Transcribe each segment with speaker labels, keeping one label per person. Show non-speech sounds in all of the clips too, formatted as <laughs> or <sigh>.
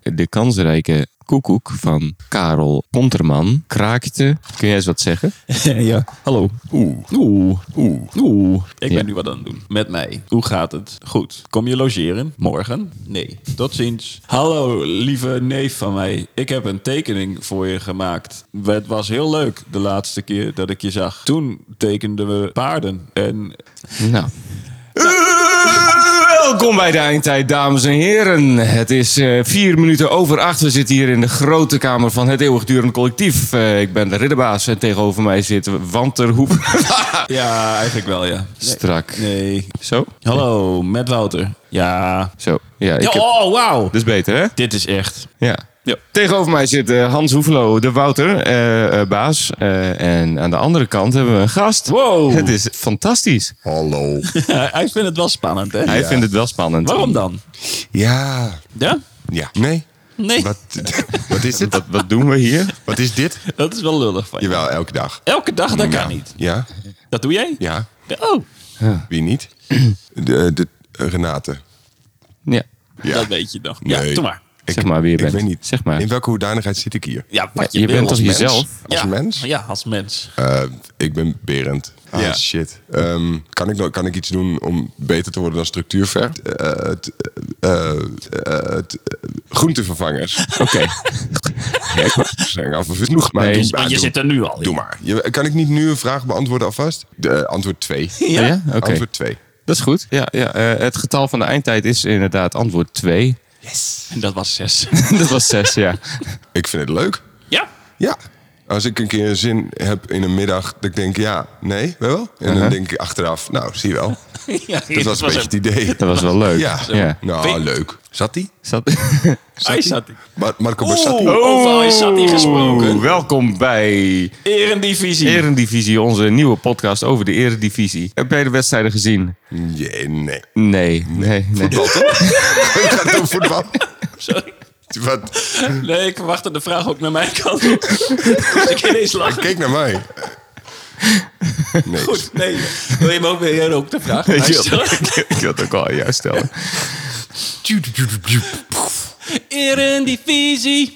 Speaker 1: de kansrijke koekoek van Karel Konterman kraakte. Kun jij eens wat zeggen?
Speaker 2: <laughs> ja. Hallo. Oeh. Oeh. Oeh. Oeh. Ik
Speaker 1: Ja.
Speaker 2: ben nu wat aan het doen. Met mij. Hoe gaat het? Goed. Kom je logeren? Morgen? Nee. Tot ziens. Hallo, lieve neef van mij. Ik heb een tekening voor je gemaakt. Het was heel leuk de laatste keer dat ik je zag. Toen tekenden we paarden. En
Speaker 1: Nou. Welkom bij de Eindtijd, dames en heren. Het is eh, vier minuten over acht. We zitten hier in de grote kamer van het eeuwigdurende collectief. Eh, ik ben de ridderbaas en tegenover mij zit Wanterhoep. <laughs>
Speaker 2: ja, eigenlijk wel, ja.
Speaker 1: Strak.
Speaker 2: Ah. Nee.
Speaker 1: Zo?
Speaker 2: Hallo, met Wouter. Ja.
Speaker 1: Zo. Ja, ik
Speaker 2: Ja,
Speaker 1: heb...
Speaker 2: Oh, wauw.
Speaker 1: Dat is beter, hè?
Speaker 2: Dit is echt.
Speaker 1: Ja.
Speaker 2: Ja.
Speaker 1: Tegenover mij zit eh, Hans Hoefelo, de Wouter, eh, eh, baas. Eh, en aan de andere kant hebben we een gast.
Speaker 2: Wow.
Speaker 1: Het is fantastisch.
Speaker 3: Hallo.
Speaker 2: <laughs> Hij vindt het wel spannend, hè?
Speaker 1: Hij vindt het wel spannend.
Speaker 2: Waarom dan?
Speaker 3: Ja.
Speaker 2: Ja?
Speaker 3: Ja. Nee.
Speaker 2: Nee, <laughs>
Speaker 3: Wat, wat is dit?
Speaker 1: Wat, wat doen we hier?
Speaker 3: Wat is dit?
Speaker 2: dat is wel lullig van je.
Speaker 3: Jawel, elke dag.
Speaker 2: Elke dag, dat kan niet.
Speaker 3: Ja.
Speaker 2: Dat doe jij?
Speaker 3: Ja.
Speaker 2: Oh,
Speaker 3: Wie niet? De, de, eh, Renate.
Speaker 1: Ja,
Speaker 3: Ja.
Speaker 2: dat weet je nog. Ja,
Speaker 3: Nee.
Speaker 2: doe maar.
Speaker 1: zeg maar wie je
Speaker 3: Ik
Speaker 1: bent.
Speaker 3: weet niet.
Speaker 1: Zeg maar.
Speaker 3: In welke hoedanigheid zit ik hier?
Speaker 2: Ja, wat
Speaker 1: Ja,
Speaker 2: je,
Speaker 1: je
Speaker 2: wil
Speaker 1: bent
Speaker 2: als
Speaker 1: toch
Speaker 2: mens.
Speaker 1: jezelf?
Speaker 3: Als
Speaker 2: ja.
Speaker 3: mens?
Speaker 2: Ja, als mens.
Speaker 3: Eh, ik ben Berend. Ah,
Speaker 1: Ja.
Speaker 3: shit. Ehm, kan, ik, nou- kan ik iets doen om beter te worden dan structuurver? Eh, het- eh, eh, het- eh, groentevervangers.
Speaker 1: Oké.
Speaker 3: Ja, ik zeg af of het nog maar Ah,
Speaker 1: Nee,
Speaker 3: doe-
Speaker 1: want
Speaker 3: maar
Speaker 2: Want je
Speaker 3: doe-
Speaker 2: zit er nu al in.
Speaker 3: Doe maar. Je- kan ik niet nu een vraag beantwoorden alvast? De, eh, antwoord 2.
Speaker 1: Ja, oké.
Speaker 3: Antwoord 2.
Speaker 1: Dat is goed. Ja, ja. eh, het getal van de eindtijd is inderdaad antwoord 2.
Speaker 2: En dat was
Speaker 3: <laughs>
Speaker 2: zes.
Speaker 1: <laughs> dat was 6, ja.
Speaker 3: Ik vind het leuk.
Speaker 2: ja,
Speaker 3: Ja. Als ik een keer een zin heb in een middag, dat ik denk, ja, nee, wel. En dan denk ik achteraf, nou, zie je wel.
Speaker 2: ja
Speaker 3: Dat was een beetje het
Speaker 1: <laughs>
Speaker 3: idee.
Speaker 1: Dat was wel leuk.
Speaker 3: Ja.
Speaker 1: ja.
Speaker 3: Nou, leuk. Zat die?
Speaker 1: Zat... Oh,
Speaker 2: Hij zat hij.
Speaker 3: Mar- Marco
Speaker 2: Oeh,
Speaker 3: Bassati.
Speaker 2: overal is
Speaker 3: Oh.
Speaker 2: zat hij gesproken.
Speaker 1: Welkom bij
Speaker 2: Eredivisie.
Speaker 1: Eredivisie, onze nieuwe podcast over de Eredivisie. Heb jij de wedstrijden gezien?
Speaker 3: Nee, nee. <laughs>
Speaker 1: Nee, nee, nee. <laughs>
Speaker 3: Voetbal, toch? Ik ga het over voetbal.
Speaker 2: Sorry.
Speaker 3: Wat?
Speaker 2: Nee, ik verwachtte de vraag ook naar mijn kant.
Speaker 3: <laughs>
Speaker 2: dus ik ineens lachen.
Speaker 3: Kijk naar mij. Nee.
Speaker 2: Goed, nee. Wil je me ook weer jij ook de vraag aan mij stellen?
Speaker 1: <laughs> ik wil het ook wel aan jou stellen.
Speaker 2: Eredivisie.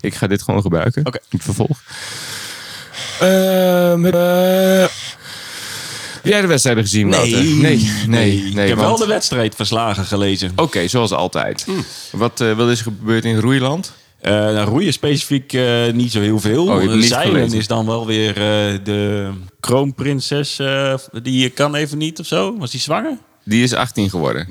Speaker 1: Ik ga dit gewoon gebruiken.
Speaker 2: Oké.
Speaker 1: In het vervolg. Ehm, eh, heb jij de wedstrijden gezien, Wouter? nee, nee. nee,
Speaker 2: ik heb wel
Speaker 1: want-
Speaker 2: de wedstrijdverslagen gelezen.
Speaker 1: Oké, zoals altijd. Wat, eh, wat is er gebeurd in Roeiland?
Speaker 2: Eh, nou, roeien specifiek eh, niet zo heel
Speaker 1: Oh,
Speaker 2: veel.
Speaker 1: je hebt het
Speaker 2: Eh,
Speaker 1: niet
Speaker 2: Zeilen
Speaker 1: gelezen.
Speaker 2: is dan wel weer eh, de kroonprinses. eh, die kan even niet of zo. Was die
Speaker 1: <laughs>
Speaker 2: zwanger?
Speaker 1: Die is 18 geworden.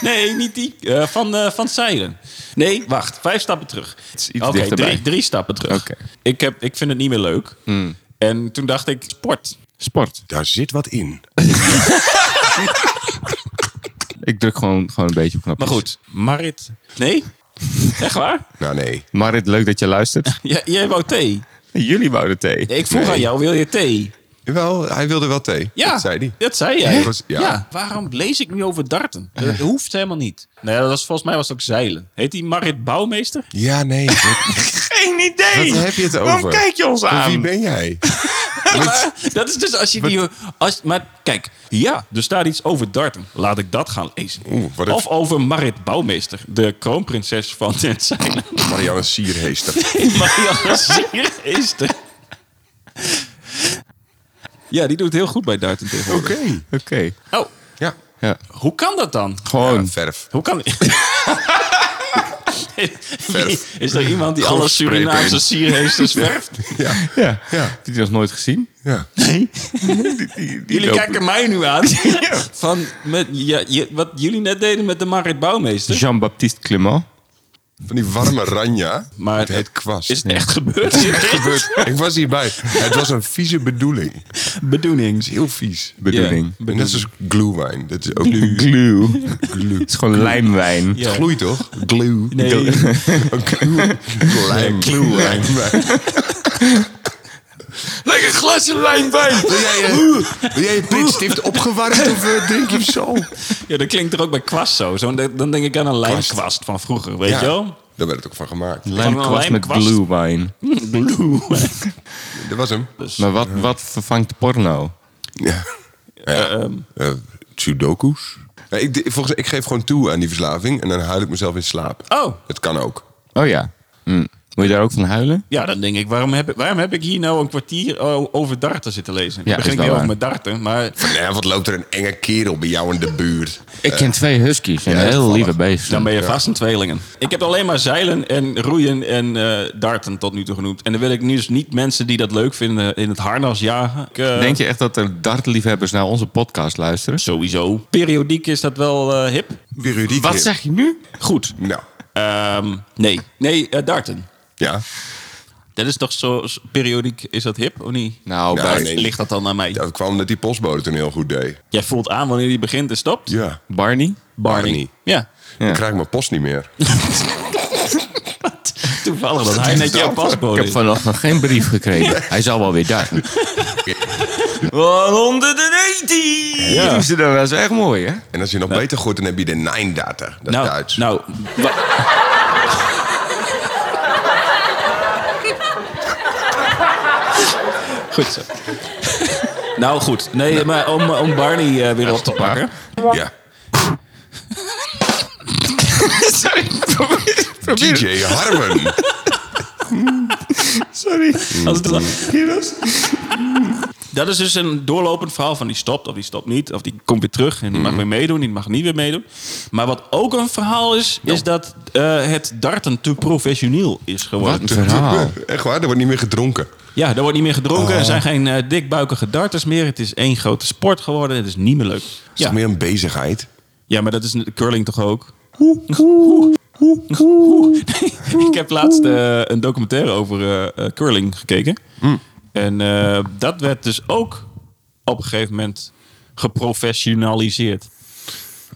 Speaker 2: Nee, niet die. Eh, van, eh van Zeilen. Nee, wacht. Vijf stappen terug.
Speaker 1: iets
Speaker 2: Oké,
Speaker 1: dichterbij.
Speaker 2: drie, drie stappen terug.
Speaker 1: Oké. Hmm.
Speaker 2: Ik, heb, ik vind het niet meer leuk. En toen dacht ik, sport.
Speaker 1: Sport.
Speaker 3: Daar zit wat in.
Speaker 1: Ik druk gewoon, gewoon een beetje op knopjes.
Speaker 2: Maar goed, Marit. Nee? <laughs> Echt waar?
Speaker 3: Nou, nee.
Speaker 1: Marit, leuk dat je luistert.
Speaker 2: J- jij wou thee.
Speaker 1: <laughs> Jullie wouden thee.
Speaker 2: Ik vroeg aan jou, wil je thee?
Speaker 3: Jawel, hij wilde wel thee.
Speaker 2: Ja,
Speaker 3: Dat zei hij.
Speaker 2: Dat zei jij.
Speaker 3: Dat was-
Speaker 2: ja.
Speaker 3: ja.
Speaker 2: waarom lees ik nu over darten? Dat hoeft helemaal niet. Nee, dat was, volgens mij was het ook zeilen. Heet die Marit Bouwmeester?
Speaker 3: Ja, nee. Wat,
Speaker 1: Geen idee!
Speaker 3: wat heb je het over?
Speaker 1: je ons
Speaker 3: Wie ben jij?
Speaker 2: dat is dus als je die... Als, maar kijk, ja, er staat iets over darten. Laat ik dat gaan lezen.
Speaker 3: Oeh, wat een-
Speaker 2: of over Marit Bouwmeester, de kroonprinses van <laughs> het zeilen.
Speaker 3: Marianne
Speaker 2: <laughs>
Speaker 3: Sierheester.
Speaker 2: Marianne Siergeester. Ja, die doet heel goed bij darten tegenwoordig.
Speaker 1: Oké.
Speaker 2: Oh,
Speaker 3: Ja.
Speaker 1: Ja.
Speaker 2: hoe kan dat dan?
Speaker 1: Gewoon.
Speaker 3: Ja, verf.
Speaker 2: Hoe
Speaker 1: <laughs>
Speaker 2: kan...
Speaker 3: Verf.
Speaker 2: Is er iemand die
Speaker 3: Gewoon
Speaker 2: alle Surinaamse
Speaker 3: spraypaint.
Speaker 2: sierheesters verft?
Speaker 3: Ja.
Speaker 1: Ja.
Speaker 3: Ja.
Speaker 1: Heb je die nog nooit gezien?
Speaker 3: ja.
Speaker 2: Jullie
Speaker 1: lopen-
Speaker 2: kijken mij
Speaker 1: <laughs>
Speaker 2: nu aan. Van met, ja, je- wat jullie net deden met de Marit Bouwmeester.
Speaker 1: Jean-Baptiste Clément.
Speaker 3: Van die warme ranja.
Speaker 2: Maar-
Speaker 3: het heet kwast.
Speaker 2: Is het echt gebeurd?
Speaker 3: gebeurd. Ik was hierbij. Het was een vieze bedoeling. Het
Speaker 2: Bedoeling.
Speaker 3: is heel vies.
Speaker 1: Bedoeling.
Speaker 3: En net zoals glühwijn. Dat is ook
Speaker 1: Glue. Het is gewoon lijmwijn.
Speaker 2: Ja.
Speaker 3: Gloeit toch? Glue.
Speaker 2: Nee,
Speaker 3: Lijm. Glühwijn. <laughs>
Speaker 1: Lekker glasje lijmwijn.
Speaker 3: Wil jij, eh, wil jij je printstift opgewarmd of eh, drink je hem zo?
Speaker 2: ja, dat klinkt er ook bij kwast zo. Zo, Dan denk ik aan een lijmkwast van vroeger, weet je wel?
Speaker 3: Daar werd het ook van gemaakt.
Speaker 1: Lijmkwast met
Speaker 2: Lijmkwast.
Speaker 1: blue wine.
Speaker 2: Blue.
Speaker 3: Dat was hem.
Speaker 1: Maar wat, wat vervangt porno?
Speaker 3: Ja.
Speaker 2: Ehm,
Speaker 3: Eh, Sudoku's. Nee, ik, volgens, ik geef gewoon toe aan die verslaving en dan huil ik mezelf in slaap.
Speaker 2: Oh.
Speaker 3: Het kan ook.
Speaker 1: Oh ja. Hm. Moet je daar ook van huilen?
Speaker 2: Ja, dan denk ik, waarom heb ik, waarom heb ik hier nou een kwartier o- over darten zitten lezen?
Speaker 1: Ja,
Speaker 2: ik begin
Speaker 1: is
Speaker 2: ik
Speaker 1: wel
Speaker 2: weer over
Speaker 1: waar.
Speaker 2: met darten, maar
Speaker 3: Vanavond loopt er een enge kerel bij jou in de buurt.
Speaker 1: Ik ken twee huskies en
Speaker 3: ja,
Speaker 1: een heel
Speaker 3: toevallig.
Speaker 1: lieve beest.
Speaker 2: dan ben je vast een tweelingen. Ik heb alleen maar zeilen en roeien en eh, darten tot nu toe genoemd. En dan wil ik nu dus niet mensen die dat leuk vinden in het harnas jagen. Ik, eh,
Speaker 1: Denk je echt dat er dartliefhebbers naar onze podcast luisteren?
Speaker 2: Sowieso. Periodiek is dat wel eh, hip.
Speaker 3: Periodiek.
Speaker 1: Wat zeg je nu?
Speaker 2: Goed.
Speaker 3: Nou,
Speaker 2: Ehm, nee. Nee, eh, darten.
Speaker 3: ja.
Speaker 2: Dat is toch zo, s- periodiek is dat hip of niet?
Speaker 1: Nou,
Speaker 3: Nou,
Speaker 1: bij
Speaker 3: nee.
Speaker 2: Ligt dat dan aan mij?
Speaker 3: Dat kwam dat die postbode toen heel goed deed.
Speaker 2: Jij voelt aan wanneer die begint en stopt?
Speaker 3: Ja.
Speaker 1: Barney?
Speaker 3: Barney.
Speaker 2: Ja.
Speaker 1: Ja.
Speaker 3: Dan krijg ik mijn post niet meer.
Speaker 2: Toevallig dat hij net jouw
Speaker 1: Ik
Speaker 2: paspoort
Speaker 1: heb
Speaker 2: is.
Speaker 1: vannacht nog geen brief gekregen. <laughs> Hij zal wel weer darten. 119! Ja. Dat is dat is echt mooi, hè?
Speaker 3: En als je nog beter gooit, dan heb je de 9 data. Dat is
Speaker 2: Nou,
Speaker 3: Duits.
Speaker 2: nou wa- goed zo. nou goed, nee, maar om, om Barney eh, weer op te pakken.
Speaker 3: Ja.
Speaker 1: <laughs> Sorry, probeer,
Speaker 3: DJ Harmon.
Speaker 1: Sorry.
Speaker 3: Mm,
Speaker 2: Als het Dat is dus een doorlopend verhaal van die stopt of die stopt niet. Of die komt weer terug en die
Speaker 3: Mm.
Speaker 2: mag weer meedoen, die mag niet weer meedoen. Maar wat ook een verhaal is,
Speaker 3: Nou.
Speaker 2: is dat eh, het darten te professioneel is geworden.
Speaker 1: Wat een verhaal.
Speaker 3: <laughs> Echt waar, er wordt niet meer gedronken.
Speaker 2: Ja, er wordt niet meer gedronken.
Speaker 3: Oh.
Speaker 2: Er zijn geen eh, dikbuikige darters meer. Het is één grote sport geworden. Het is niet meer leuk.
Speaker 3: Het is
Speaker 2: Ja,
Speaker 3: toch meer een bezigheid.
Speaker 2: ja maar dat is een- curling toch ook? <laughs> Nee, ik heb laatst eh, een documentaire over eh, eh, curling gekeken.
Speaker 3: Mm.
Speaker 2: En eh, dat werd dus ook op een gegeven moment geprofessionaliseerd.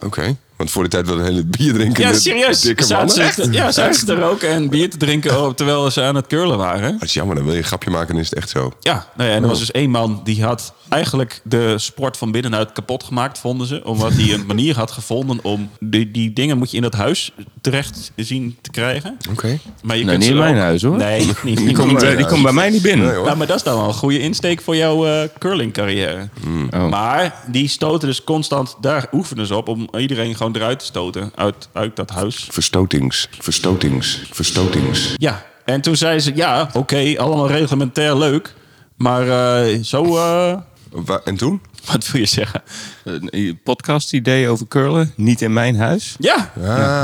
Speaker 3: Oké. Want voor de tijd wilden hele bier drinken.
Speaker 2: Ja,
Speaker 3: met
Speaker 2: serieus.
Speaker 3: dikke
Speaker 2: Zaten
Speaker 3: mannen.
Speaker 2: ze, ja, zaten ze er ook en bier te drinken oh, terwijl ze aan het curlen waren.
Speaker 3: Dat is jammer, dan wil je een grapje maken en is het echt zo.
Speaker 2: Ja, nou ja, en er was dus één man die had eigenlijk de sport van binnenuit kapot gemaakt, vonden ze. Omdat hij een manier had gevonden om... Die, die dingen moet je in dat huis terecht zien te krijgen.
Speaker 3: Oké.
Speaker 2: Maar je
Speaker 1: Nou,
Speaker 2: kunt
Speaker 1: niet
Speaker 2: ze
Speaker 1: in
Speaker 2: ook-
Speaker 1: mijn huis, hoor.
Speaker 2: Nee,
Speaker 1: <laughs>
Speaker 2: niet, niet,
Speaker 1: Die komt, eh, die komt bij mij niet
Speaker 3: Nee,
Speaker 1: binnen.
Speaker 3: hoor.
Speaker 2: nou, maar dat is dan wel een goede insteek voor jouw eh, curlingcarrière.
Speaker 1: Oh.
Speaker 2: Maar die stoten dus constant, daar oefenen ze op om iedereen gewoon eruit te stoten uit, uit dat huis.
Speaker 3: Verstotings. Verstotings. Verstotings.
Speaker 2: Ja, en toen zei ze, ja, oké, allemaal reglementair leuk, maar eh, zo, eh, <laughs>
Speaker 3: Wa- En toen?
Speaker 2: wat wil je zeggen?
Speaker 1: Een podcast idee over curlen, niet in mijn huis.
Speaker 2: Ja,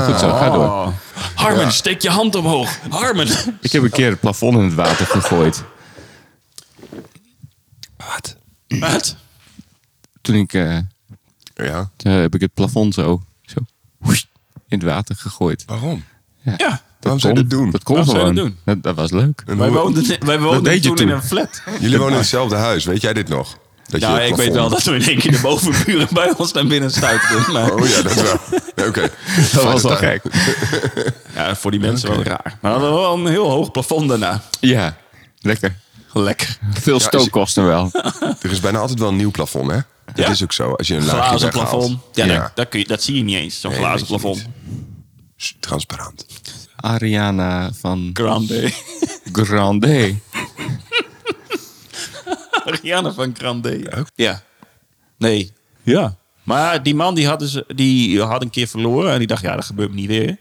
Speaker 1: Goed zo, ga door.
Speaker 2: Oh. Harmen, steek je hand omhoog. Harmen.
Speaker 1: Ik heb een keer het plafond in het water gegooid.
Speaker 3: Wat?
Speaker 2: Wat?
Speaker 1: Toen ik, eh,
Speaker 3: Ja.
Speaker 1: toen heb ik het plafond zo, zo woest, in het water gegooid.
Speaker 3: Waarom?
Speaker 2: Ja.
Speaker 3: Waarom zou je
Speaker 1: Kon-
Speaker 3: dat doen?
Speaker 1: Dat kon
Speaker 2: Waarom zou je
Speaker 1: gewoon.
Speaker 2: dat doen?
Speaker 1: Dat, dat was leuk.
Speaker 3: En
Speaker 2: Wij
Speaker 3: hoe-
Speaker 2: woonden, wij
Speaker 1: Dat
Speaker 2: woonden
Speaker 1: deed je
Speaker 2: toen in
Speaker 1: toen.
Speaker 2: een flat.
Speaker 3: Jullie wonen in hetzelfde huis, weet jij dit nog? Dat
Speaker 2: Nou,
Speaker 3: het
Speaker 2: ik weet wel
Speaker 3: plafond-
Speaker 2: dat we in één keer de bovenburen bij ons naar binnen stuiten. Maar
Speaker 3: Oh ja, dat wel.
Speaker 1: <laughs>
Speaker 3: Ja, Oké.
Speaker 1: Dat was wel
Speaker 3: al
Speaker 1: gek.
Speaker 2: ja, voor die mensen wel raar. Maar we hadden wel een heel hoog plafond daarna.
Speaker 1: Ja, lekker.
Speaker 2: Lekker.
Speaker 1: Veel stookkosten wel.
Speaker 3: Er is bijna altijd wel een nieuw plafond, hè? Dat
Speaker 2: Ja.
Speaker 3: is ook zo. Als je een laagje
Speaker 2: Glazen
Speaker 3: weghaalt.
Speaker 2: plafond. Ja,
Speaker 3: ja.
Speaker 2: Dat, dat, kun je, dat zie je niet eens, zo'n
Speaker 3: Nee,
Speaker 2: glazen
Speaker 3: weet je
Speaker 2: plafond.
Speaker 3: S- Transparant.
Speaker 1: Ariana van
Speaker 2: Grande.
Speaker 1: Grande.
Speaker 2: Ariana van Grande. Ja. ja. Nee. Ja. Maar die man die had, dus, die had een keer verloren. En die dacht, ja, dat gebeurt me niet weer.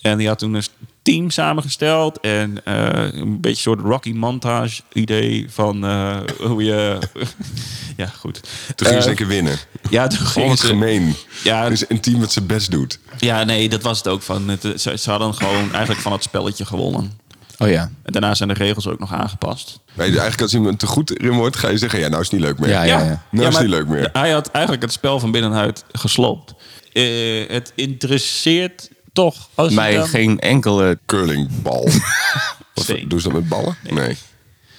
Speaker 2: En die had toen een team samengesteld. En eh, een beetje een soort Rocky Montage idee van eh, hoe je... <laughs> ja, goed.
Speaker 3: Toen gingen ze
Speaker 2: Eh,
Speaker 3: een keer winnen.
Speaker 2: Ja, toen
Speaker 3: Oh,
Speaker 2: gingen
Speaker 3: wat
Speaker 2: ze...
Speaker 3: gemeen.
Speaker 2: Ja.
Speaker 3: Ja. Dus een team dat zijn best doet.
Speaker 2: Ja, nee, dat was het ook. Van het, eh, ze, ze hadden gewoon eigenlijk van het spelletje gewonnen.
Speaker 1: Oh ja.
Speaker 2: En daarna zijn de regels ook nog aangepast.
Speaker 3: Nee, eigenlijk als iemand te goed erin wordt, ga je zeggen... Ja, nou is het niet leuk meer.
Speaker 1: Ah, Ja, ja, ja.
Speaker 3: Nou, is
Speaker 2: maar
Speaker 3: niet leuk meer.
Speaker 2: Hij had eigenlijk het spel van binnenuit gesloopt. Eh, het interesseert toch als je
Speaker 1: Mij
Speaker 2: dan-
Speaker 1: geen enkele...
Speaker 3: Curlingbal. Wat
Speaker 2: Steen.
Speaker 3: voor- Doen ze dat met ballen? Nee.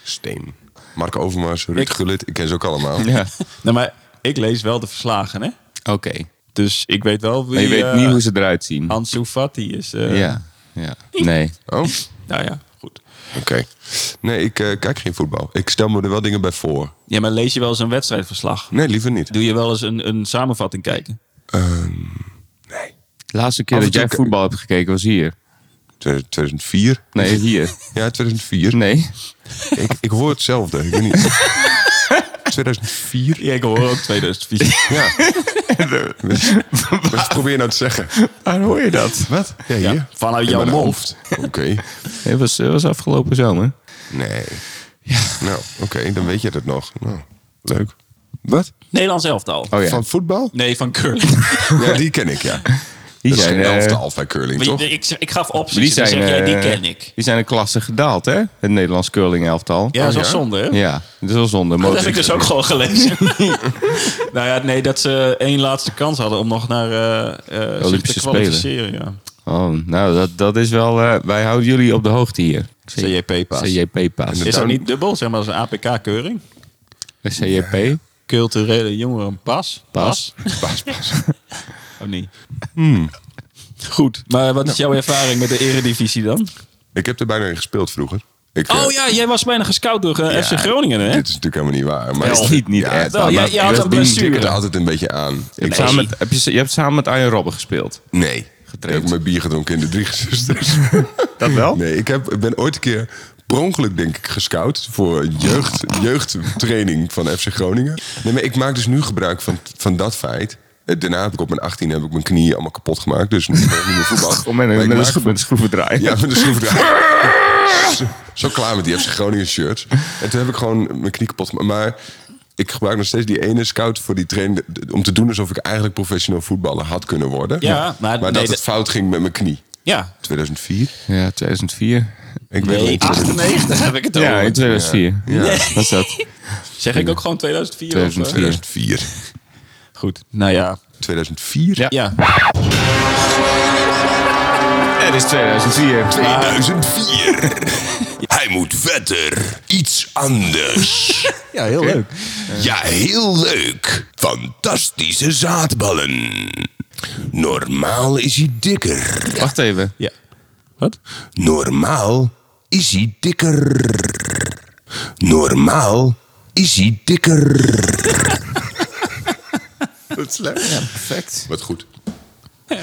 Speaker 3: Steen. Marco Overmars, Ruud
Speaker 2: Ik-
Speaker 3: Gullit, ik ken ze ook allemaal.
Speaker 1: Ja,
Speaker 2: Nou, maar ik lees wel de verslagen, hè?
Speaker 1: oké.
Speaker 2: Dus ik weet wel wie
Speaker 1: Maar je weet
Speaker 2: eh,
Speaker 1: niet hoe ze eruit zien.
Speaker 2: Ansu Fati is. eh,
Speaker 1: Ja, ja. Nee.
Speaker 3: Oh, oké.
Speaker 2: Nou ja, goed.
Speaker 3: Nee, ik eh, kijk geen voetbal. Ik stel me er wel dingen bij voor.
Speaker 2: Ja, maar lees je wel eens een wedstrijdverslag?
Speaker 3: Nee, liever niet.
Speaker 2: Doe je wel eens een, een samenvatting kijken?
Speaker 3: Ehm, nee.
Speaker 1: De laatste keer
Speaker 3: Af en
Speaker 1: dat jij
Speaker 3: toe-
Speaker 1: voetbal hebt gekeken was hier.
Speaker 3: 2004?
Speaker 1: Nee,
Speaker 3: <laughs>
Speaker 1: hier.
Speaker 3: Ja, 2004.
Speaker 1: Nee.
Speaker 3: Ik, ik hoor hetzelfde. Ik weet niet. 2004?
Speaker 2: Ja, ik hoor ook
Speaker 3: <laughs>
Speaker 2: 2004.
Speaker 3: Ja. Wat probeer je nou te zeggen?
Speaker 1: Waar hoor je dat?
Speaker 3: Wat? Ja, hier.
Speaker 2: Ja, vanuit
Speaker 3: In
Speaker 2: jouw
Speaker 3: mijn
Speaker 2: mond.
Speaker 3: hoofd. Oké.
Speaker 1: Het was, eh, was afgelopen zomer.
Speaker 3: Nee. Nou, oké, dan weet je dat nog. Nou, leuk. Wat?
Speaker 2: Nederlands elftal.
Speaker 1: Oh ja.
Speaker 3: Van voetbal?
Speaker 2: Nee, van curling.
Speaker 3: Ja, die ken ik, ja.
Speaker 1: die
Speaker 3: dat is
Speaker 1: zijn,
Speaker 3: geen
Speaker 1: eh,
Speaker 3: elftal bij curling, <laughs> toch?
Speaker 2: ik, ik, ik gaf opties.
Speaker 1: die
Speaker 2: Die
Speaker 1: zijn,
Speaker 2: zeg jij, die
Speaker 1: eh,
Speaker 2: ken ik.
Speaker 1: Die zijn een klasse gedaald, hè? Het Nederlands curling elftal. Oh,
Speaker 2: Ja, dat is wel
Speaker 3: Oh, ja?
Speaker 2: zonde, hè?
Speaker 1: Ja, dat is wel zonde.
Speaker 2: Dat
Speaker 1: Modric-
Speaker 2: heb ik dus ook gewoon gelezen. nou ja, nee, dat ze één laatste kans hadden om nog naar eh, eh, zich
Speaker 1: Olympische
Speaker 2: te
Speaker 1: Spelen.
Speaker 2: kwalificeren. Ja.
Speaker 1: Oh, nou, dat, dat is wel... eh, wij houden jullie op de hoogte hier.
Speaker 2: CJP-paas.
Speaker 1: CJP-paas.
Speaker 2: Is dat niet dubbel? Zeg maar, dat is een APK-keuring.
Speaker 1: Eh, CJP?
Speaker 2: Culturele jongerenpas.
Speaker 1: Pas.
Speaker 3: Baas, baas.
Speaker 2: Of niet? Goed, maar wat is jouw ervaring met de eredivisie dan?
Speaker 3: Ik heb er bijna in gespeeld vroeger. Ik, eh,
Speaker 2: Oh ja, jij was bijna gescout door eh, FC Groningen, hè?
Speaker 3: Dit is natuurlijk helemaal niet waar. Maar
Speaker 1: Dat is niet, niet
Speaker 3: Ja,
Speaker 1: echt.
Speaker 2: Nou,
Speaker 1: maar-
Speaker 2: jij-
Speaker 1: maar
Speaker 2: jij had
Speaker 1: West
Speaker 2: een
Speaker 1: Beam
Speaker 2: blessure.
Speaker 1: tikkert
Speaker 3: Ik er
Speaker 1: altijd.
Speaker 3: altijd een beetje aan.
Speaker 1: Je hebt
Speaker 3: Ik,
Speaker 1: samen met- heb je- Je hebt samen met Arjen Robben gespeeld.
Speaker 3: nee. Ik heb mijn bier gedronken in de drie gezusters.
Speaker 1: Dat <laughs> wel?
Speaker 3: Nee, ik heb, ik ben ooit een keer per ongeluk, denk ik, gescout voor jeugd, jeugdtraining van FC Groningen. Nee, maar ik maak dus nu gebruik van, van dat feit. Eh, Daarna heb ik op mijn 18 heb ik mijn knieën allemaal kapot gemaakt. Dus nu ben ik niet meer voetbal.
Speaker 1: <laughs> Om met,
Speaker 3: Maar
Speaker 1: een-
Speaker 3: ik
Speaker 1: met een
Speaker 3: maak-
Speaker 1: schroef- met een schroevendraaier.
Speaker 3: Ja, met een schroevendraaier. Zo- Zo klaar met die FC Groningen shirt. En toen heb ik gewoon mijn knie kapot gemaakt. Maar ik gebruik nog steeds die ene scout voor die training... om te doen alsof ik eigenlijk professioneel voetballer had kunnen worden.
Speaker 2: Ja, maar- nee,
Speaker 3: dat
Speaker 2: dat-
Speaker 3: het fout ging met mijn knie.
Speaker 2: Ja.
Speaker 3: 2004?
Speaker 1: Ja, 2004.
Speaker 3: Ik weet
Speaker 2: Nee,
Speaker 3: niet.
Speaker 2: 98 heb ik het over.
Speaker 1: Ja, in 2004. Oh, Ja. Wat is dat?
Speaker 2: Zeg ik ook gewoon 2004? of, eh?
Speaker 1: 2004.
Speaker 3: 2004.
Speaker 2: Goed, nou ja.
Speaker 3: 2004?
Speaker 1: Ja.
Speaker 2: Ja,
Speaker 1: Het is 2004.
Speaker 3: 2004. Hij moet verder. Iets anders.
Speaker 2: ja heel leuk.
Speaker 3: Ja, heel leuk. Fantastische zaadballen. Normaal is hij dikker.
Speaker 1: Wacht even.
Speaker 2: Ja. Wat?
Speaker 3: Normaal is hij dikker. Normaal is hij dikker. Wat slecht.
Speaker 1: Perfect.
Speaker 3: Wat goed. Eh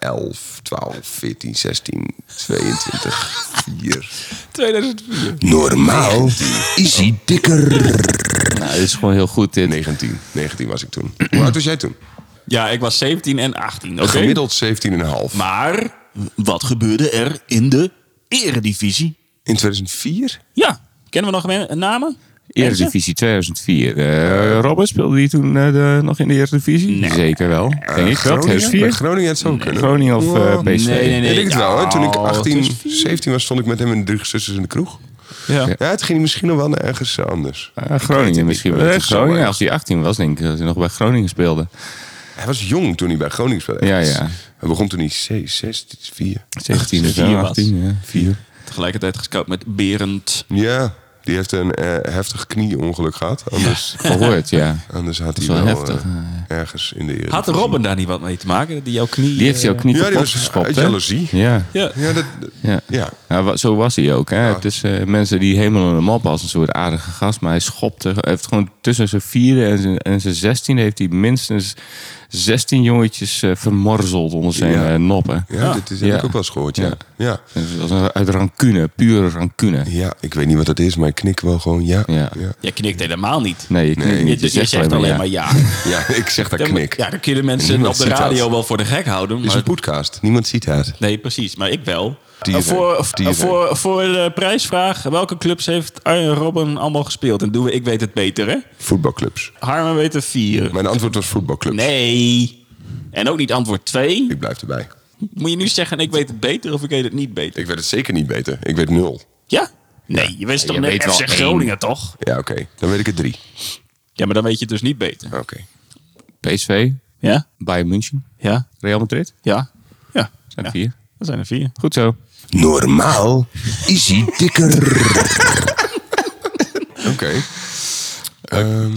Speaker 3: 11, 12, 14, 16, 22, 4.
Speaker 2: 2004.
Speaker 3: Normaal is hij dikker.
Speaker 1: Nou, dit is gewoon heel goed. Dit.
Speaker 3: 19. 19 was ik toen. Hoe oud was jij toen?
Speaker 2: Ja, ik was 17 en 18, oké?
Speaker 3: Gemiddeld 17,5.
Speaker 2: Maar wat gebeurde er in de eredivisie?
Speaker 3: In 2004?
Speaker 2: Ja, kennen we nog men- namen?
Speaker 1: Eredivisie 2004. Eh Robben speelde die toen eh, de- nog in de Eredivisie? Zeker wel. Denk ik wel.
Speaker 3: Groningen? Bij
Speaker 1: 2004?
Speaker 3: Groningen had het zo kunnen.
Speaker 1: Groningen of eh,
Speaker 2: Nee,
Speaker 1: PSV?
Speaker 2: nee, nee.
Speaker 3: Ik denk het wel. Hè. Toen ik
Speaker 2: Oh,
Speaker 3: 18,
Speaker 2: het
Speaker 3: 17 was, stond ik met hem en de drie zusters in de kroeg.
Speaker 2: Ja.
Speaker 3: Ja, het ging misschien nog wel naar ergens anders.
Speaker 1: Eh, Groningen misschien wel.
Speaker 3: Het
Speaker 1: Eh,
Speaker 3: is zo
Speaker 1: Groningen,
Speaker 3: erg.
Speaker 1: als hij 18 was, denk ik dat hij nog bij Groningen speelde.
Speaker 3: Hij was jong toen hij bij Groningen speelde.
Speaker 1: Ja,
Speaker 3: Hij
Speaker 1: ja.
Speaker 3: Hij begon toen hij 16, 4.
Speaker 1: 17 of zo,
Speaker 2: Vier was.
Speaker 1: 18, ja. 4.
Speaker 2: Tegelijkertijd gescout met Berend.
Speaker 3: Ja, die heeft een eh, heftig knieongeluk gehad. Anders,
Speaker 1: Gehoord, ja. <laughs>
Speaker 3: anders had hij
Speaker 1: is wel
Speaker 3: wel,
Speaker 1: heftig,
Speaker 3: eh, ergens in de Eredivisie.
Speaker 2: Had Robin daar niet wat mee te maken? Die jouw knie... eh,
Speaker 1: Die heeft hij ook niet
Speaker 3: Ja, die
Speaker 1: kapot
Speaker 3: was
Speaker 1: geschopt,
Speaker 3: uit
Speaker 1: hè?
Speaker 3: jaloezie.
Speaker 1: Ja.
Speaker 2: Ja.
Speaker 3: Ja, dat, dat-
Speaker 1: Ja.
Speaker 3: ja.
Speaker 1: Ja, wa- zo was hij ook. Hè. Het is eh, mensen die helemaal hem op als een soort aardige gast. Maar hij schopte. Hij heeft gewoon tussen zijn vierde en zijn, en zijn zestiende heeft hij minstens 16 jongetjes eh, vermorzeld onder zijn
Speaker 3: Ja.
Speaker 1: eh, noppen.
Speaker 3: ja, dit is, heb
Speaker 1: Ja.
Speaker 3: ik ook wel eens gehoord. Ja.
Speaker 1: Ja.
Speaker 3: Ja. Ja.
Speaker 1: Dus dat was een- uit rancune, pure rancune.
Speaker 3: ik weet niet wat dat is, maar ik knik wel gewoon ja.
Speaker 1: Ja.
Speaker 3: Ja, ja.
Speaker 2: Jij knikt helemaal niet.
Speaker 1: Nee, je, knikt
Speaker 2: Je,
Speaker 1: niet,
Speaker 2: je zegt, alleen maar ja.
Speaker 3: ik zeg <laughs> dat knik.
Speaker 2: Ja, dan kunnen mensen op
Speaker 3: Niemand
Speaker 2: de
Speaker 3: ziet dat.
Speaker 2: radio wel voor de gek houden.
Speaker 3: Het is
Speaker 2: Maar,
Speaker 3: een podcast. Niemand ziet het.
Speaker 2: nee, precies. Maar ik wel.
Speaker 3: Die
Speaker 2: Eh,
Speaker 3: idee.
Speaker 2: voor,
Speaker 3: Die
Speaker 2: eh,
Speaker 3: idee.
Speaker 2: voor, voor de prijsvraag, welke clubs heeft Arjen Robben allemaal gespeeld? En doen we Ik Weet Het Beter, hè?
Speaker 3: Voetbalclubs.
Speaker 2: Harmen weet er vier.
Speaker 3: Mijn antwoord was voetbalclubs.
Speaker 2: Nee. En ook niet antwoord twee.
Speaker 3: Ik blijf erbij.
Speaker 2: Moet je nu zeggen, ik weet het beter of ik weet het niet beter?
Speaker 3: Ik weet het zeker niet beter. Ik weet nul.
Speaker 2: Ja? Nee, je wist toch
Speaker 1: je
Speaker 2: net
Speaker 1: weet wel
Speaker 2: FC
Speaker 1: één.
Speaker 2: Groningen, toch?
Speaker 3: Ja, oké. Dan weet ik het drie.
Speaker 2: Ja, maar dan weet je het dus niet beter.
Speaker 3: Oké.
Speaker 1: PSV,
Speaker 2: Ja?
Speaker 1: Bayern München,
Speaker 2: Ja?
Speaker 1: Real Madrid.
Speaker 2: Ja? Ja.
Speaker 1: Zijn
Speaker 2: Ja.
Speaker 1: vier.
Speaker 2: Dat zijn er vier.
Speaker 1: Goed zo.
Speaker 3: Normaal is <laughs> hij dikker. oké. Ehm,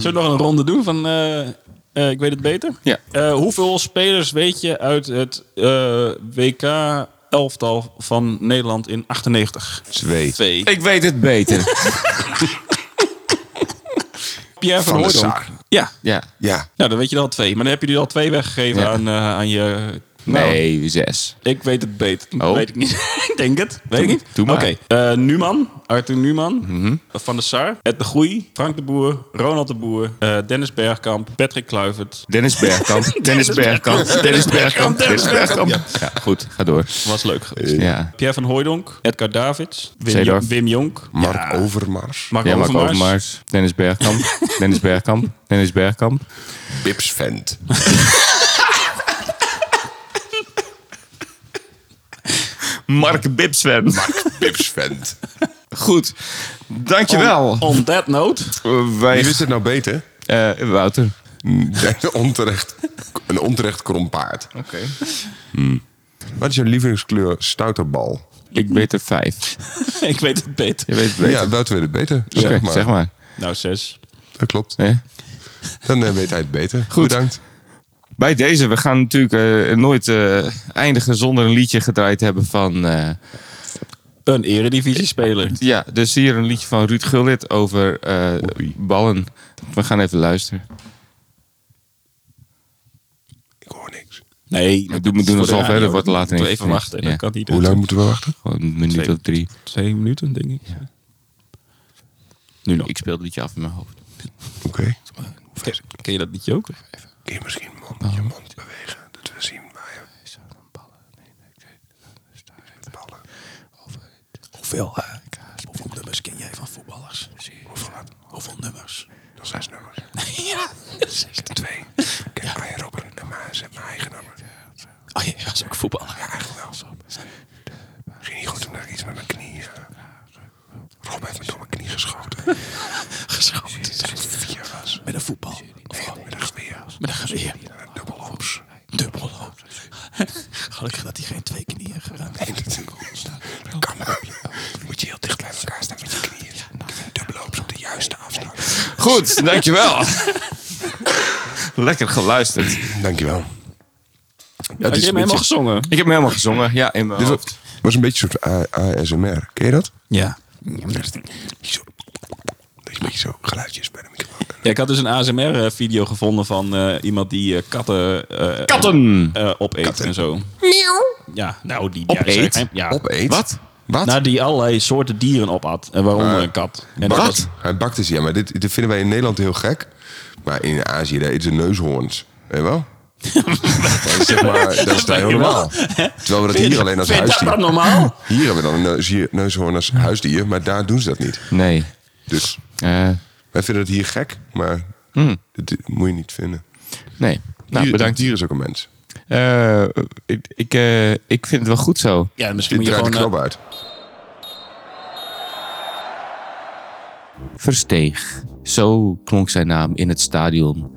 Speaker 2: Zullen we nog een ronde doen van eh, eh, Ik weet het beter?
Speaker 1: Ja.
Speaker 2: Eh, hoeveel spelers weet je uit het eh, WK elftal van Nederland in 98?
Speaker 3: Twee.
Speaker 2: Twee.
Speaker 1: Ik weet het beter.
Speaker 2: Pierre van
Speaker 3: Van der
Speaker 2: Hooydonk.
Speaker 3: Sar.
Speaker 2: Ja.
Speaker 1: <laughs> ja.
Speaker 3: Ja.
Speaker 2: Nou, dan weet je er al twee. Maar dan heb je er al twee weggegeven
Speaker 1: Ja.
Speaker 2: aan, eh, aan je Nou,
Speaker 1: Nee, zes.
Speaker 2: Ik weet het beter.
Speaker 1: Oh.
Speaker 2: Weet ik niet. <laughs> Ik Denk het. Weet ik niet.
Speaker 1: doe maar. Mhm.
Speaker 2: Oké. Eh, Numan. Arthur Numan. Van der Sar. Ed de Groei. Frank de Boer. Ronald de Boer. eh, Dennis Bergkamp. Patrick Kluivert.
Speaker 1: Dennis
Speaker 2: <laughs>
Speaker 1: Bergkamp. Dennis Bergkamp. Dennis Bergkamp. Dennis Bergkamp. Ja, goed. Ga door.
Speaker 2: Was leuk geweest.
Speaker 1: Ja.
Speaker 2: Pierre van Hooijdonk. Edgar Davids. Wim,
Speaker 1: Zeedorf.
Speaker 2: Jo- Wim Jonk.
Speaker 3: Mark Overmars.
Speaker 2: Mark
Speaker 1: Ja, Mark
Speaker 2: Overmars.
Speaker 1: Overmars. Dennis Bergkamp. Dennis Bergkamp. Dennis Bergkamp.
Speaker 3: Pips Vent.
Speaker 1: Mark Bibsven.
Speaker 3: Mark Pips Vent.
Speaker 1: Goed. Dankjewel.
Speaker 2: On that note. <laughs>
Speaker 1: Eh,
Speaker 3: Wie
Speaker 1: Wij,
Speaker 3: wist het nou beter?
Speaker 1: eh, Wouter.
Speaker 3: Een onterecht, een onterecht krom paard.
Speaker 1: Oké.
Speaker 3: Wat is jouw lievelingskleur stouterbal?
Speaker 1: Ik weet er vijf.
Speaker 2: ik weet het beter.
Speaker 1: Je weet het beter.
Speaker 3: Ja, Wouter weet het beter.
Speaker 1: Oké,
Speaker 3: Zeg maar.
Speaker 1: zeg maar.
Speaker 2: Nou, zes.
Speaker 3: Dat klopt.
Speaker 1: Hè?
Speaker 3: Dan eh, weet hij het beter. Goed. Bedankt.
Speaker 1: Bij deze, we gaan natuurlijk eh, nooit eh, eindigen zonder een liedje gedraaid te hebben van... eh,
Speaker 2: Een eredivisie-speler.
Speaker 1: ja, dus hier een liedje van Ruud Gullit over eh, ballen. We gaan even luisteren.
Speaker 3: Ik hoor niks.
Speaker 2: Nee.
Speaker 1: We doen, we doen alsof hè, er wordt later
Speaker 2: Moeten we
Speaker 1: ingeknipt.
Speaker 2: Even wachten.
Speaker 1: Ja,
Speaker 2: Dat kan niet.
Speaker 3: Hoe lang moeten we wachten?
Speaker 1: Gewoon een minuut
Speaker 2: Twee.
Speaker 1: of drie.
Speaker 2: Twee minuten, denk ik. Nu nog.
Speaker 1: Ik speel het liedje af in mijn hoofd.
Speaker 3: Oké.
Speaker 2: Ken, ken je dat niet ook?
Speaker 3: Kun je misschien mond, je mond bewegen? Dat we zien waar je... Ballen.
Speaker 2: Hoeveel,
Speaker 3: eh,
Speaker 2: hoeveel nummers ken jij van voetballers? Hoeveel, hoeveel nummers?
Speaker 3: Dat zijn zes <laughs> nummers.
Speaker 2: ja.
Speaker 3: Twee. Kijk, ja. Arjen Robben en maar ze hebben mijn eigen nummer.
Speaker 2: Oh, jij was ook voetballer.
Speaker 3: Eigenlijk wel. Ging niet goed omdat ik iets met mijn knie... eh, Rob heeft me door mijn knie geschoten.
Speaker 2: Geschoten.
Speaker 3: Vier was.
Speaker 2: Met een voetbal.
Speaker 3: Nee, met een geweer.
Speaker 2: Met een geweer.
Speaker 3: Eh, Dubbel hops.
Speaker 2: Dubbel. <laughs> Gelukkig dat hij geen twee knieën geraakt
Speaker 3: Nee, dat dat kan ook. <laughs> Moet je heel dicht bij elkaar staan met je knieën. Dubbel hops op de juiste afstand.
Speaker 1: Goed, dankjewel. Lekker geluisterd.
Speaker 3: Dankjewel.
Speaker 2: Had je hem helemaal gezongen?
Speaker 1: Ik heb me helemaal gezongen. Ja, in mijn hoofd.
Speaker 3: was een beetje een soort A- ASMR. Ken je dat?
Speaker 2: Ja.
Speaker 3: Zo. Dat je een beetje zo geluidjes bij de microfoon.
Speaker 2: Ja, ik had dus een ASMR-video gevonden van eh, iemand die eh, katten... eh,
Speaker 1: Katten!
Speaker 2: eh, opeet
Speaker 3: Katten.
Speaker 2: en zo. Ja, nou die...
Speaker 1: Opeet?
Speaker 2: Ja, zij- ja.
Speaker 3: Opeet.
Speaker 1: Wat?
Speaker 3: Wat? Eh,
Speaker 2: Nou, die allerlei soorten dieren opat. En waaronder
Speaker 3: Maar-
Speaker 2: een kat. En
Speaker 3: Bakt-
Speaker 2: dat was-
Speaker 3: Hij bakt dus, ja, maar dit, dit vinden wij in Nederland heel gek. Maar in Azië, daar eten ze neushoorns. Weet je
Speaker 2: <laughs>
Speaker 3: wel? dat is zeg maar, dat is daar heel normaal. Terwijl we dat hier alleen als
Speaker 2: Vind je dat dan
Speaker 3: huisdier... <laughs>
Speaker 2: normaal?
Speaker 3: Hier hebben we dan een neushier- neushoorn als huisdier, maar daar doen ze dat niet.
Speaker 1: Nee.
Speaker 3: Dus
Speaker 1: Eh,
Speaker 3: wij vinden het hier gek, maar
Speaker 2: Hmm.
Speaker 3: dit moet je niet vinden.
Speaker 1: nee. Nou,
Speaker 3: Dier-
Speaker 1: bedankt.
Speaker 3: Dier is ook een mens.
Speaker 1: Eh, ik, ik, eh, ik vind het wel goed zo.
Speaker 2: Ja, misschien
Speaker 3: Dit
Speaker 2: moet je
Speaker 3: draait de
Speaker 2: gewoon... eh,
Speaker 3: knop uit.
Speaker 1: Versteeg. Zo klonk zijn naam in het stadion.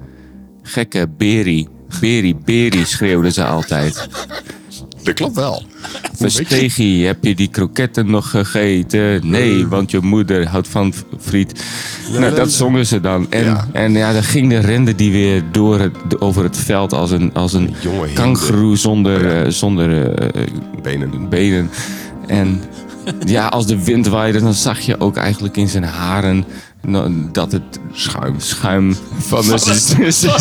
Speaker 1: Gekke Beri. Beri, Beri schreeuwden ze altijd.
Speaker 3: Dat klopt wel.
Speaker 1: Verstegie, heb je die kroketten nog gegeten? Nee, want je moeder houdt van v- friet. Nou, dat zongen ze dan. En
Speaker 3: Ja.
Speaker 1: ja, en ja dan ging de rende die weer door het, over het veld als een, als een
Speaker 3: Jonge hinde.
Speaker 1: kangoeroe zonder, eh, zonder eh, eh,
Speaker 3: Benen.
Speaker 1: benen. En ja, als de wind waaide, dan zag je ook eigenlijk in zijn haren nou, dat het schuim, schuim van de, <laughs> zee, zee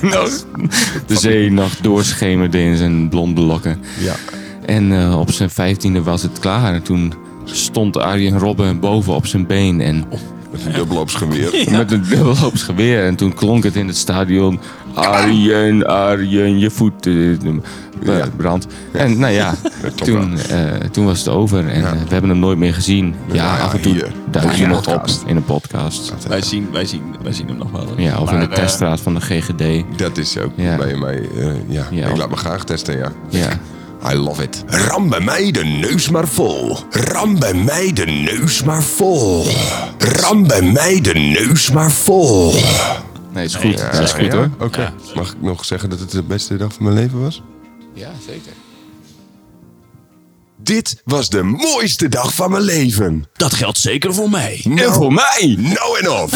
Speaker 1: nog, de zee nog doorschemerde in zijn blonde lokken.
Speaker 3: Ja.
Speaker 1: En eh, op zijn vijftiende was het klaar. En toen stond Arjen Robben boven op zijn been en
Speaker 3: Met een dubbelhoops geweer.
Speaker 2: <laughs>
Speaker 1: met een dubbelhoops geweer. En toen klonk het in het stadion. Arjen, Arjen, je voet eh, eh,
Speaker 3: Ja.
Speaker 1: brandt. En nou
Speaker 3: <laughs>
Speaker 1: ja,
Speaker 3: klopt
Speaker 1: toen, eh, toen was het over. En eh, we hebben hem nooit meer gezien. Ja,
Speaker 3: nou ja,
Speaker 1: af en toe
Speaker 3: hier.
Speaker 1: duik je
Speaker 3: Ja,
Speaker 1: nog op
Speaker 3: podcast.
Speaker 1: in een podcast.
Speaker 2: Wij zien, wij, zien, wij zien hem nog wel.
Speaker 1: Ja, of in
Speaker 2: Maar,
Speaker 1: de
Speaker 2: eh,
Speaker 1: teststraat van de GGD.
Speaker 3: Dat is ook
Speaker 1: Ja.
Speaker 3: bij mij. eh, ja.
Speaker 1: Ja.
Speaker 3: Ik laat me graag testen, ja.
Speaker 1: Ja.
Speaker 3: I love it. Ram bij mij de neus maar vol. Ram bij mij de neus maar vol. Ram bij mij de neus maar vol.
Speaker 1: Nee, is goed. dat is goed
Speaker 3: Ja?
Speaker 1: hoor.
Speaker 3: Oké. Mag ik nog zeggen dat het de beste dag van mijn leven was?
Speaker 1: Ja, zeker.
Speaker 3: Dit was de mooiste dag van mijn leven.
Speaker 2: Dat geldt zeker voor mij.
Speaker 1: En voor mij!
Speaker 3: Nou en of.